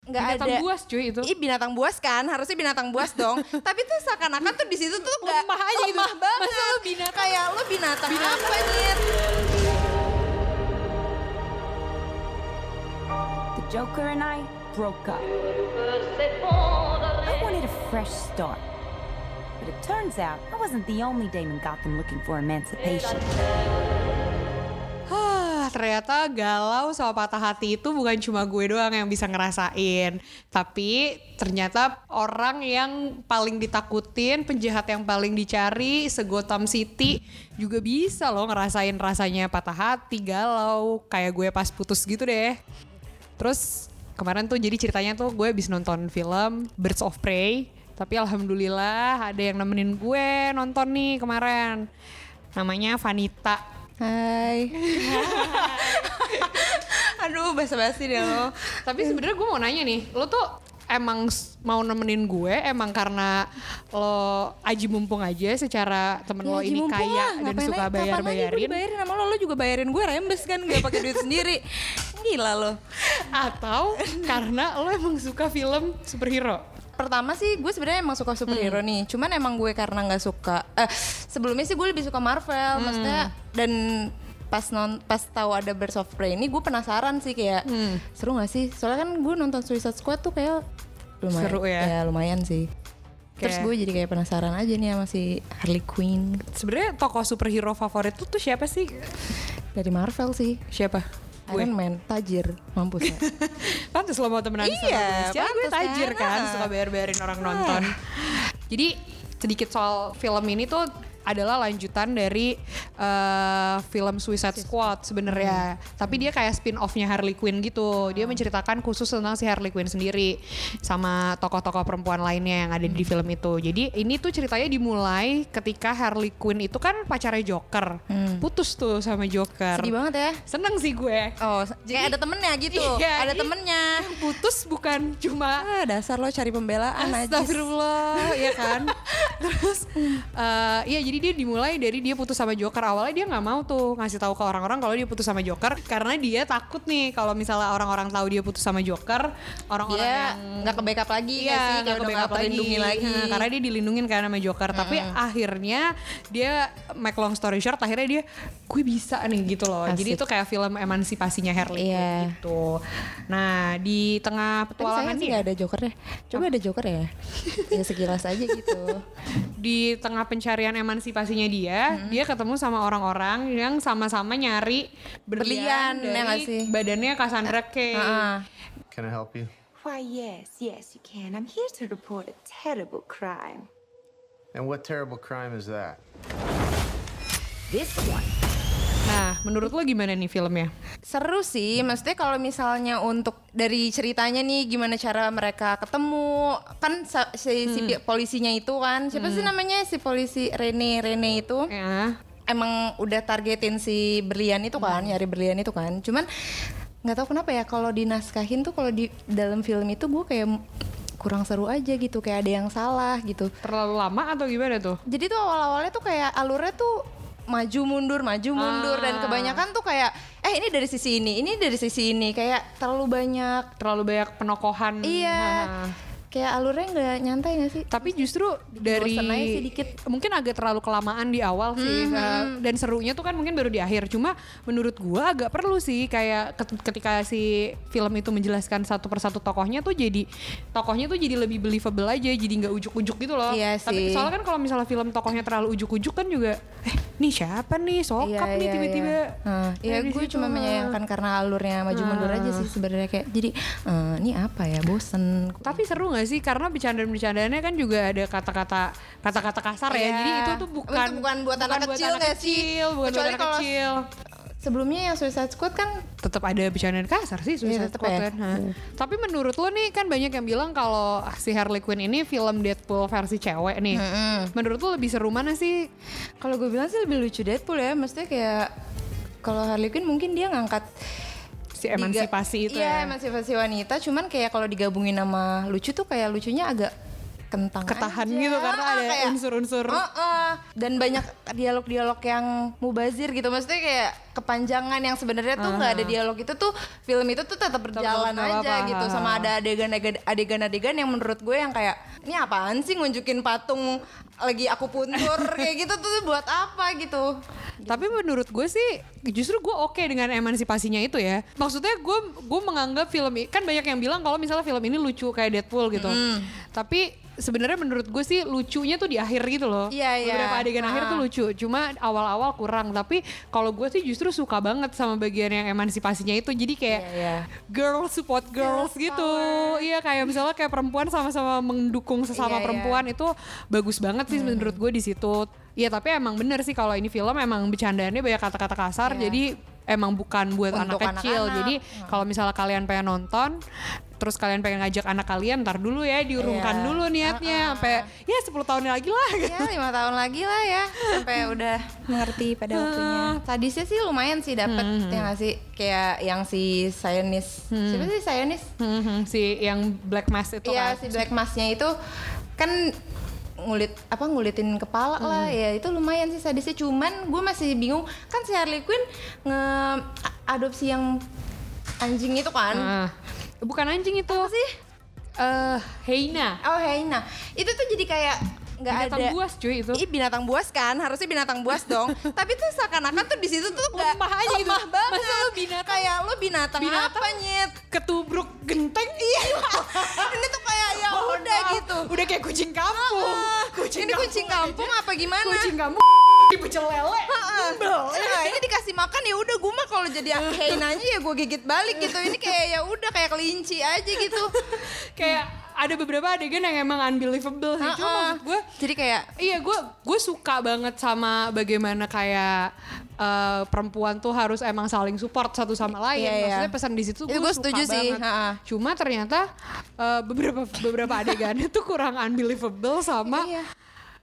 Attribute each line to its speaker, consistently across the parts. Speaker 1: nggak ada
Speaker 2: Binatang buas cuy itu.
Speaker 1: Ih binatang buas kan, harusnya binatang buas dong. Tapi tuh seakan-akan tuh di situ tuh nggak
Speaker 2: Lemah aja gitu.
Speaker 1: lemah banget.
Speaker 2: Masa lu binatang?
Speaker 1: Kayak lu binatang,
Speaker 2: Binatang.
Speaker 1: apa nyet?
Speaker 3: The Joker and I broke up. I wanted a fresh start. But it turns out I wasn't the only Dame in Gotham looking for emancipation.
Speaker 4: Hah, ternyata galau sama patah hati itu bukan cuma gue doang yang bisa ngerasain. Tapi ternyata orang yang paling ditakutin, penjahat yang paling dicari, segotam City juga bisa loh ngerasain rasanya patah hati, galau, kayak gue pas putus gitu deh. Terus kemarin tuh jadi ceritanya tuh gue habis nonton film Birds of Prey. Tapi alhamdulillah ada yang nemenin gue nonton nih kemarin. Namanya Vanita.
Speaker 1: Hai. Aduh basa-basi deh lo.
Speaker 4: Tapi sebenarnya gue mau nanya nih, lo tuh emang s- mau nemenin gue emang karena lo aji mumpung aja secara temen lo Iya, ini
Speaker 1: mumpung
Speaker 4: kaya
Speaker 1: lah,
Speaker 4: dan
Speaker 1: ngapain
Speaker 4: suka
Speaker 1: lagi? Kapan lagi gue
Speaker 4: bayar-bayarin
Speaker 1: dibayarin sama lo, lo juga bayarin gue rembes kan, gak pakai duit sendiri. Gila lo.
Speaker 4: atau karena lo emang suka film superhero.
Speaker 1: Pertama sih gue sebenarnya emang suka superhero nih, cuman emang gue karena nggak suka. Eh, sebelumnya sih gue lebih suka Marvel, maksudnya dan pas non pas tahu ada Birds of Prey ini gue penasaran sih kayak seru gak sih? Soalnya kan gue nonton Suicide Squad tuh kayak lumayan,
Speaker 4: Seru ya?
Speaker 1: lumayan sih. Terus
Speaker 4: Oke.
Speaker 1: gue jadi kayak penasaran aja nih sama si Harley Quinn
Speaker 4: Sebenarnya tokoh superhero favorit lo tuh siapa sih?
Speaker 1: dari Marvel sih.
Speaker 4: Siapa?
Speaker 1: Iron
Speaker 4: Gue.
Speaker 1: Man tajir mampus ya.
Speaker 4: Pantes lo mau temenan sama
Speaker 1: Iya,
Speaker 4: gue. Secara gue
Speaker 1: pantes
Speaker 4: tajir
Speaker 1: kan. Nah.
Speaker 4: kan, suka bayar-bayarin orang nonton. Jadi sedikit soal film ini tuh adalah lanjutan dari eh, film Suicide Squad sebenarnya.
Speaker 1: Hmm.
Speaker 4: Tapi dia kayak spin offnya Harley Quinn gitu.
Speaker 1: Ah.
Speaker 4: Dia menceritakan khusus tentang si Harley Quinn sendiri sama tokoh-tokoh perempuan lainnya yang ada di
Speaker 1: Hmm.
Speaker 4: film itu. Jadi ini tuh ceritanya dimulai ketika Harley Quinn itu kan pacarnya Joker. Putus tuh sama Joker.
Speaker 1: Hmm. Sedih banget ya.
Speaker 4: Seneng sih gue.
Speaker 1: Oh, kayak ada temennya gitu.
Speaker 4: Iya,
Speaker 1: ada
Speaker 4: iya.
Speaker 1: temennya.
Speaker 4: Yang putus bukan cuma
Speaker 1: Ah, dasar lo cari pembelaan aja.
Speaker 4: Astagfirullah, ya kan? Terus, eh ya jadi dia dimulai dari dia putus sama Joker. Awalnya dia nggak mau tuh ngasih tahu ke orang-orang kalau dia putus sama Joker karena dia takut nih kalau misalnya orang-orang tahu dia putus sama Joker, orang-orang
Speaker 1: Dia
Speaker 4: yang
Speaker 1: nggak ke backup lagi nggak
Speaker 4: Iya,
Speaker 1: sih,
Speaker 4: nggak
Speaker 1: kayak udah nggak
Speaker 4: kebackup
Speaker 1: terlindungi lagi.
Speaker 4: Nah, karena dia dilindungin kan sama Joker. Tapi akhirnya dia make long story short, akhirnya dia gue bisa nih gitu loh. Jadi
Speaker 1: Asik.
Speaker 4: itu kayak film emansipasinya Harley Quinn
Speaker 1: Iya.
Speaker 4: gitu. Nah di tengah
Speaker 1: Tapi sayang
Speaker 4: petualangan
Speaker 1: sih
Speaker 4: dia,
Speaker 1: nggak ada joker ya. Coba ada joker ya. ya sekilas aja gitu.
Speaker 4: di tengah pencarian emansipasinya dia,
Speaker 1: Hmm.
Speaker 4: dia ketemu sama orang-orang yang sama-sama nyari
Speaker 1: Berlian,
Speaker 4: berlian,
Speaker 1: ya nggak
Speaker 4: dari
Speaker 1: sih?
Speaker 4: badannya Cassandra Cain.
Speaker 1: Heeh.
Speaker 5: Can I help you?
Speaker 6: Why, yes, yes, you can. I'm here to report a terrible crime.
Speaker 5: And what terrible crime is that?
Speaker 3: This one
Speaker 4: Nah, menurut lo gimana nih filmnya?
Speaker 1: Seru sih, maksudnya kalau misalnya untuk dari ceritanya nih gimana cara mereka ketemu kan sa- si, si pi- polisinya itu kan siapa sih namanya si polisi Rene Rene itu
Speaker 4: Ya.
Speaker 1: emang udah targetin si berlian itu kan, nyari berlian itu kan. Cuman nggak tahu kenapa ya kalau dinaskahin tuh kalau di dalam film itu gue kayak m- kurang seru aja gitu, kayak ada yang salah gitu.
Speaker 4: Terlalu lama atau gimana tuh?
Speaker 1: Jadi tuh awal-awalnya tuh kayak alurnya tuh maju mundur, maju mundur dan
Speaker 4: Ah.
Speaker 1: kebanyakan tuh kayak eh ini dari sisi ini, ini dari sisi ini kayak terlalu banyak.
Speaker 4: Terlalu banyak penokohan.
Speaker 1: Iya.
Speaker 4: Nah.
Speaker 1: Kayak alurnya nggak nyantai gak sih?
Speaker 4: Tapi justru dari
Speaker 1: bosen aja sih dikit. Hmm,
Speaker 4: mungkin agak terlalu kelamaan di awal sih eh, dan serunya tuh kan mungkin baru di akhir. Cuma menurut gua agak perlu sih kayak ket- ketika si film itu menjelaskan satu persatu tokohnya tuh jadi tokohnya tuh jadi lebih believable aja, jadi nggak ujuk-ujuk gitu loh.
Speaker 1: Iya sih.
Speaker 4: Tapi soalnya kan kalau misalnya film tokohnya terlalu ujuk-ujuk kan juga eh nih siapa
Speaker 1: Iya,
Speaker 4: nih sokap nih tiba-tiba.
Speaker 1: Nah, ya
Speaker 4: Dari
Speaker 1: gue
Speaker 4: situ,
Speaker 1: cuma
Speaker 4: ah.
Speaker 1: menyayangkan karena alurnya maju mundur aja sih sebenarnya kayak jadi eh, ini apa ya bosen.
Speaker 4: Tapi seru gak sih? Karena bercandaan-bercandaannya kan juga ada kata-kata kata-kata kasar ya.
Speaker 1: Iya.
Speaker 4: Jadi itu tuh bukan
Speaker 1: Itu bukan buat anak kecil nggak sih?
Speaker 4: kecil, bukan
Speaker 1: Kecuali
Speaker 4: buat anak
Speaker 1: kalau-
Speaker 4: kecil.
Speaker 1: Sebelumnya yang Suicide Squad kan
Speaker 4: Tetap ada bercandaan kasar sih Suicide
Speaker 1: tetep
Speaker 4: Squad
Speaker 1: ya.
Speaker 4: kan. ha. Tapi menurut lo nih kan banyak yang bilang kalau si Harley Quinn ini film Deadpool versi cewek nih. Menurut lo lebih seru mana sih?
Speaker 1: kalau gue bilang sih lebih lucu Deadpool ya, maksudnya kayak kalau Harley Quinn mungkin dia ngangkat
Speaker 4: Si
Speaker 1: diga-
Speaker 4: emansipasi itu
Speaker 1: Iya,
Speaker 4: ya.
Speaker 1: emansipasi wanita, cuman kayak kalau digabungin sama lucu tuh kayak lucunya agak kentang
Speaker 4: ketahan
Speaker 1: aja.
Speaker 4: gitu karena
Speaker 1: Ah,
Speaker 4: ada
Speaker 1: kayak,
Speaker 4: unsur-unsur
Speaker 1: "Ah-ah." dan banyak dialog-dialog yang mubazir gitu maksudnya kayak kepanjangan yang sebenarnya tuh nggak ada dialog itu tuh film itu tuh tetap berjalan
Speaker 4: Ah. nggak
Speaker 1: aja
Speaker 4: apa-apa.
Speaker 1: gitu sama ada adegan-adegan adegan-adegan yang menurut gue yang kayak ini apaan sih ngunjukin patung lagi aku puntur kayak gitu tuh buat apa gitu
Speaker 4: Tapi menurut gue sih justru gue oke dengan emansipasinya itu ya. Maksudnya gue gue menganggap film i- kan banyak yang bilang kalau misalnya film ini lucu kayak Deadpool gitu. Tapi sebenarnya menurut gue sih lucunya tuh di akhir gitu loh.
Speaker 1: Iya, iya.
Speaker 4: Beberapa adegan akhir tuh
Speaker 1: Ah.
Speaker 4: lucu. Cuma awal-awal kurang. Tapi kalau gue sih justru suka banget sama bagian yang emansipasinya itu. Jadi kayak
Speaker 1: Iya, iya.
Speaker 4: girl support
Speaker 1: Girls
Speaker 4: girls gitu. Iya kayak misalnya kayak perempuan sama-sama mendukung
Speaker 1: Iya, Hmm.
Speaker 4: sesama
Speaker 1: iya.
Speaker 4: perempuan itu bagus banget sih menurut gue di situ. Iya tapi emang bener sih kalau ini film emang bercandaannya banyak kata-kata kasar
Speaker 1: Iya.
Speaker 4: jadi emang bukan buat
Speaker 1: Untuk
Speaker 4: anak
Speaker 1: anak-anak.
Speaker 4: kecil.
Speaker 1: Hmm.
Speaker 4: Jadi kalau misalnya kalian pengen nonton terus kalian pengen ngajak anak kalian ntar dulu ya diurungkan
Speaker 1: Iya.
Speaker 4: dulu niatnya sampai ya 10 tahun lagi lah. gitu.
Speaker 1: ya lima tahun lagi lah ya sampai udah mengerti pada waktunya sadisnya sih lumayan sih dapet ya nggak sih kayak yang si Sionis siapa sih Sionis
Speaker 4: Mhm, si yang black mass itu
Speaker 1: Iya
Speaker 4: kan.
Speaker 1: si Black Mask-nya itu kan ngulit apa ngulitin kepala lah ya itu lumayan sih sadisnya cuman gue masih bingung kan si Harley Quinn nge a- adopsi yang anjing itu kan
Speaker 4: Ah. bukan anjing itu. Apa sih? Eh, Heina.
Speaker 1: oh Heina itu tuh jadi kayak nggak ada
Speaker 4: Binatang buas cuy itu.
Speaker 1: Ih binatang buas kan, harusnya binatang buas dong. Tapi tuh seakan-akan tuh di situ tuh nggak-
Speaker 4: Lemah aja gitu.
Speaker 1: lemah banget.
Speaker 4: Masa lu binatang?
Speaker 1: Kayak lu binatang,
Speaker 4: Binatang?
Speaker 1: apa nyet?
Speaker 4: ketubruk genteng iya
Speaker 1: Ini tuh kayak ya udah gitu. Ah,
Speaker 4: udah kayak kucing kampung
Speaker 1: Ini kucing kampung apa gimana?
Speaker 4: kucing kampung pecel lele
Speaker 1: Heeh. Nah, ini dikasih makan ya udah gue mah kalau jadi heinanya ya gue gigit balik gitu. Ini kayak ya udah kayak kelinci aja gitu.
Speaker 4: kayak ada beberapa adegan yang emang unbelievable sih cuma
Speaker 1: Heeh.
Speaker 4: maksud gue
Speaker 1: jadi kayak
Speaker 4: Iya, gue gue suka banget sama bagaimana kayak eh, perempuan tuh harus emang saling support satu sama lain.
Speaker 1: Iya, iya.
Speaker 4: Maksudnya pesan di situ
Speaker 1: Itu
Speaker 4: gue
Speaker 1: gua
Speaker 4: suka
Speaker 1: setuju sih,
Speaker 4: banget.
Speaker 1: ha-ha.
Speaker 4: Cuma ternyata eh, beberapa beberapa adegannya tuh kurang unbelievable sama.
Speaker 1: Iya.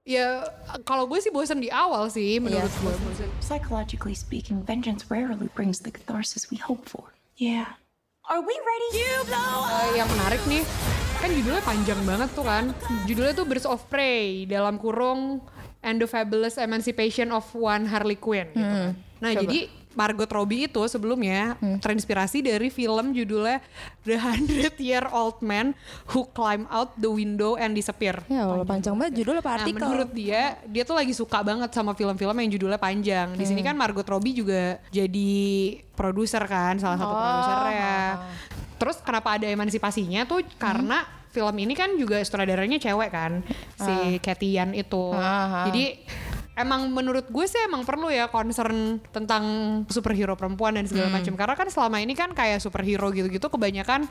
Speaker 4: Ya kalau gue sih bosen di awal sih menurut
Speaker 1: sih.
Speaker 4: gue. bosen.
Speaker 2: Psychologically speaking, vengeance rarely brings the catharsis we hope for.
Speaker 6: Yeah. Are we ready? You blow up!
Speaker 4: Eh, yang menarik nih kan judulnya panjang banget tuh kan judulnya tuh Birds of Prey dalam kurung and the fabulous emancipation of one Harley Quinn gitu kan. nah jadi Margot Robbie itu sebelumnya terinspirasi dari film judulnya The Hundred Year Old Man Who Climbed Out the Window and Disappear
Speaker 1: ya Allah panjang banget judul apa
Speaker 4: Nah, menurut dia, dia tuh lagi suka banget sama film-film yang judulnya panjang. Di sini kan Margot Robbie juga jadi produser kan, salah satu produsernya. Terus kenapa ada emansipasinya tuh karena film ini kan juga sutradaranya cewek kan, si Ketian itu.
Speaker 1: Ah, ah.
Speaker 4: Jadi emang menurut gue sih emang perlu ya concern tentang superhero perempuan dan segala macam karena kan selama ini kan kayak superhero gitu-gitu kebanyakan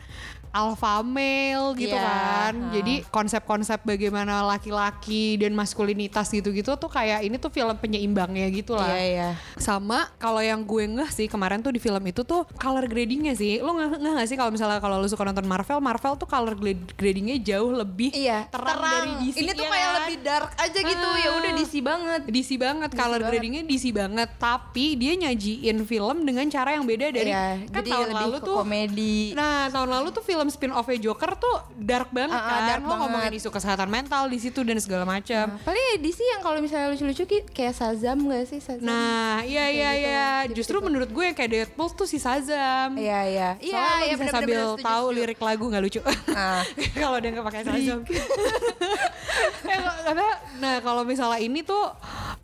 Speaker 4: alpha male gitu
Speaker 1: Iya,
Speaker 4: kan. Jadi konsep-konsep bagaimana laki-laki dan maskulinitas gitu-gitu tuh kayak ini tuh film penyeimbangnya gitu lah.
Speaker 1: Iya, iya.
Speaker 4: Sama kalau yang gue ngeh sih kemarin tuh di film itu tuh color gradingnya sih. Lo ngeh ngeh nggak sih kalau misalnya kalau lu suka nonton Marvel, Marvel tuh color grad- gradingnya jauh lebih
Speaker 1: Iya,
Speaker 4: terang, dari DC.
Speaker 1: Ini tuh
Speaker 4: ya
Speaker 1: kayak
Speaker 4: kan?
Speaker 1: lebih dark aja gitu.
Speaker 4: Ah.
Speaker 1: Ya udah DC banget.
Speaker 4: DC banget, color
Speaker 1: banget.
Speaker 4: gradingnya DC banget, tapi dia nyajiin film dengan cara yang beda dari
Speaker 1: Iya,
Speaker 4: kan
Speaker 1: jadi
Speaker 4: tahun
Speaker 1: lebih
Speaker 4: lalu
Speaker 1: ke
Speaker 4: tuh
Speaker 1: komedi.
Speaker 4: Nah, tahun lalu tuh film spin-off-nya Joker tuh dark
Speaker 1: Ah,
Speaker 4: banget
Speaker 1: ah,
Speaker 4: kan.
Speaker 1: dark
Speaker 4: Lo ngomongin
Speaker 1: banget.
Speaker 4: isu kesehatan mental di situ dan segala macam.
Speaker 1: Paling ya DC yang kalau misalnya lucu-lucu ki- kayak Shazam gak sih Shazam?
Speaker 4: Nah, iya
Speaker 1: Kayak
Speaker 4: iya
Speaker 1: gitu,
Speaker 4: iya.
Speaker 1: tipe-tipe.
Speaker 4: Justru menurut gue yang kayak Deadpool tuh si Shazam.
Speaker 1: Iya iya. Iya iya
Speaker 4: Soalnya lo bisa
Speaker 1: bener-bener,
Speaker 4: sambil
Speaker 1: setuju,
Speaker 4: tahu
Speaker 1: setuju.
Speaker 4: lirik lagu nggak lucu.
Speaker 1: Ah.
Speaker 4: kalau dia nggak pakai Shazam. Eh, kok- karena- nah kalau misalnya ini tuh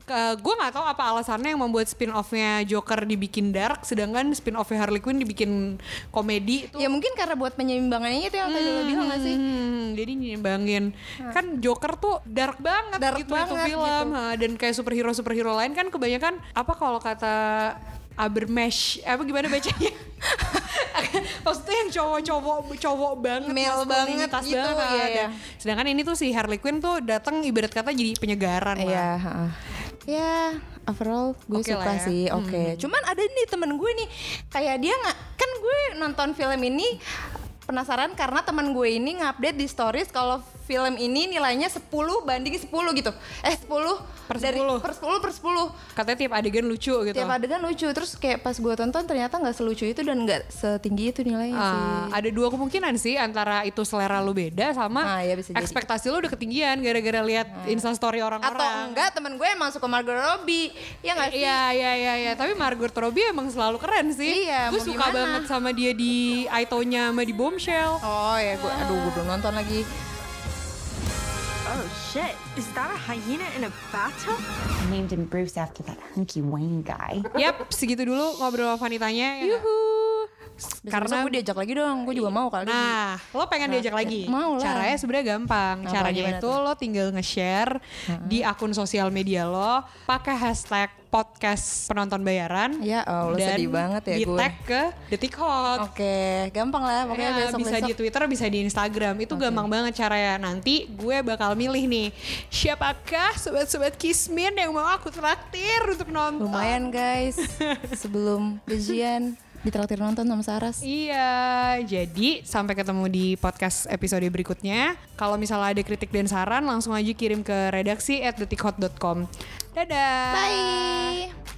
Speaker 4: ke- gue nggak tahu apa alasannya yang membuat spin offnya Joker dibikin dark, sedangkan spin offnya Harley Quinn dibikin komedi tuh.
Speaker 1: Ya mungkin karena buat penyeimbangnya itu yang tadi lo bilang gak sih?
Speaker 4: Hmm, jadi nyimbangin kan Joker tuh dark banget
Speaker 1: Dark
Speaker 4: gitu itu
Speaker 1: banget
Speaker 4: film
Speaker 1: gitu.
Speaker 4: Ha, dan kayak superhero superhero lain kan kebanyakan apa kalau kata Abermesh apa gimana bacanya maksudnya yang cowok-cowok cowok banget
Speaker 1: Male banget
Speaker 4: maskulinitas
Speaker 1: gitu,
Speaker 4: banget. ya.
Speaker 1: iya, iya.
Speaker 4: sedangkan ini tuh si Harley Quinn tuh datang ibarat kata jadi penyegaran lah.
Speaker 1: Iya, heeh. Ya, overall gue
Speaker 4: Oke
Speaker 1: suka
Speaker 4: lah ya.
Speaker 1: sih. Oke. Cuman ada nih temen gue nih, kayak dia nggak kan gue nonton film ini penasaran karena teman gue ini ngupdate di stories kalau film ini nilainya 10 banding 10 gitu. Eh 10
Speaker 4: Per
Speaker 1: dari
Speaker 4: 10.
Speaker 1: per 10 per 10.
Speaker 4: Katanya tiap adegan lucu gitu.
Speaker 1: Tiap adegan lucu terus kayak pas gue tonton ternyata nggak selucu itu dan nggak setinggi itu nilainya sih.
Speaker 4: Ah, ada dua kemungkinan sih antara itu selera lu beda sama
Speaker 1: Ah, iya, bisa jadi. Nah.
Speaker 4: ekspektasi lu udah ketinggian gara-gara lihat instastory orang-orang.
Speaker 1: Atau enggak temen gue emang suka Margot Robbie Ya nggak sih?
Speaker 4: Iya iya iya iya, tapi Margot Robbie emang selalu keren sih.
Speaker 1: Iya,
Speaker 4: gue
Speaker 1: mau
Speaker 4: suka
Speaker 1: gimana?
Speaker 4: banget sama dia di Aitonya sama di Bombshell.
Speaker 1: Oh ya gue, aduh gue belum nonton lagi
Speaker 6: Oh shit, is that a hyena in a bathtub?
Speaker 3: I named him Bruce after that hunky Wayne guy.
Speaker 4: Yap, segitu dulu ngobrol sama Vanitanya. ya nggak?
Speaker 1: Karena
Speaker 4: Karena
Speaker 1: gue diajak lagi dong, gue juga mau kali
Speaker 4: Nah, lo pengen diajak lagi?
Speaker 1: mau lah.
Speaker 4: Caranya sebenarnya gampang.
Speaker 1: Apa,
Speaker 4: Caranya
Speaker 1: gimana
Speaker 4: itu
Speaker 1: tuh?
Speaker 4: lo tinggal nge-share di akun sosial media lo pakai hashtag podcast penonton bayaran.
Speaker 1: Ya Allah,
Speaker 4: dan
Speaker 1: sedih banget ya gue.
Speaker 4: di-tag ke Detik Hot.
Speaker 1: Oke, gampang lah pokoknya
Speaker 4: Ya, bisa
Speaker 1: besok-besok
Speaker 4: di Twitter, bisa di Instagram. Itu gampang banget caranya. Nanti gue bakal milih nih siapakah sobat-sobat Kismin yang mau aku traktir untuk nonton.
Speaker 1: Lumayan guys, sebelum gajian ditraktir nonton sama Saras
Speaker 4: Iya, jadi sampai ketemu di podcast episode berikutnya. Kalau misalnya ada kritik dan saran, langsung aja kirim ke redaksi at detikhot.com. Dadah!
Speaker 1: Bye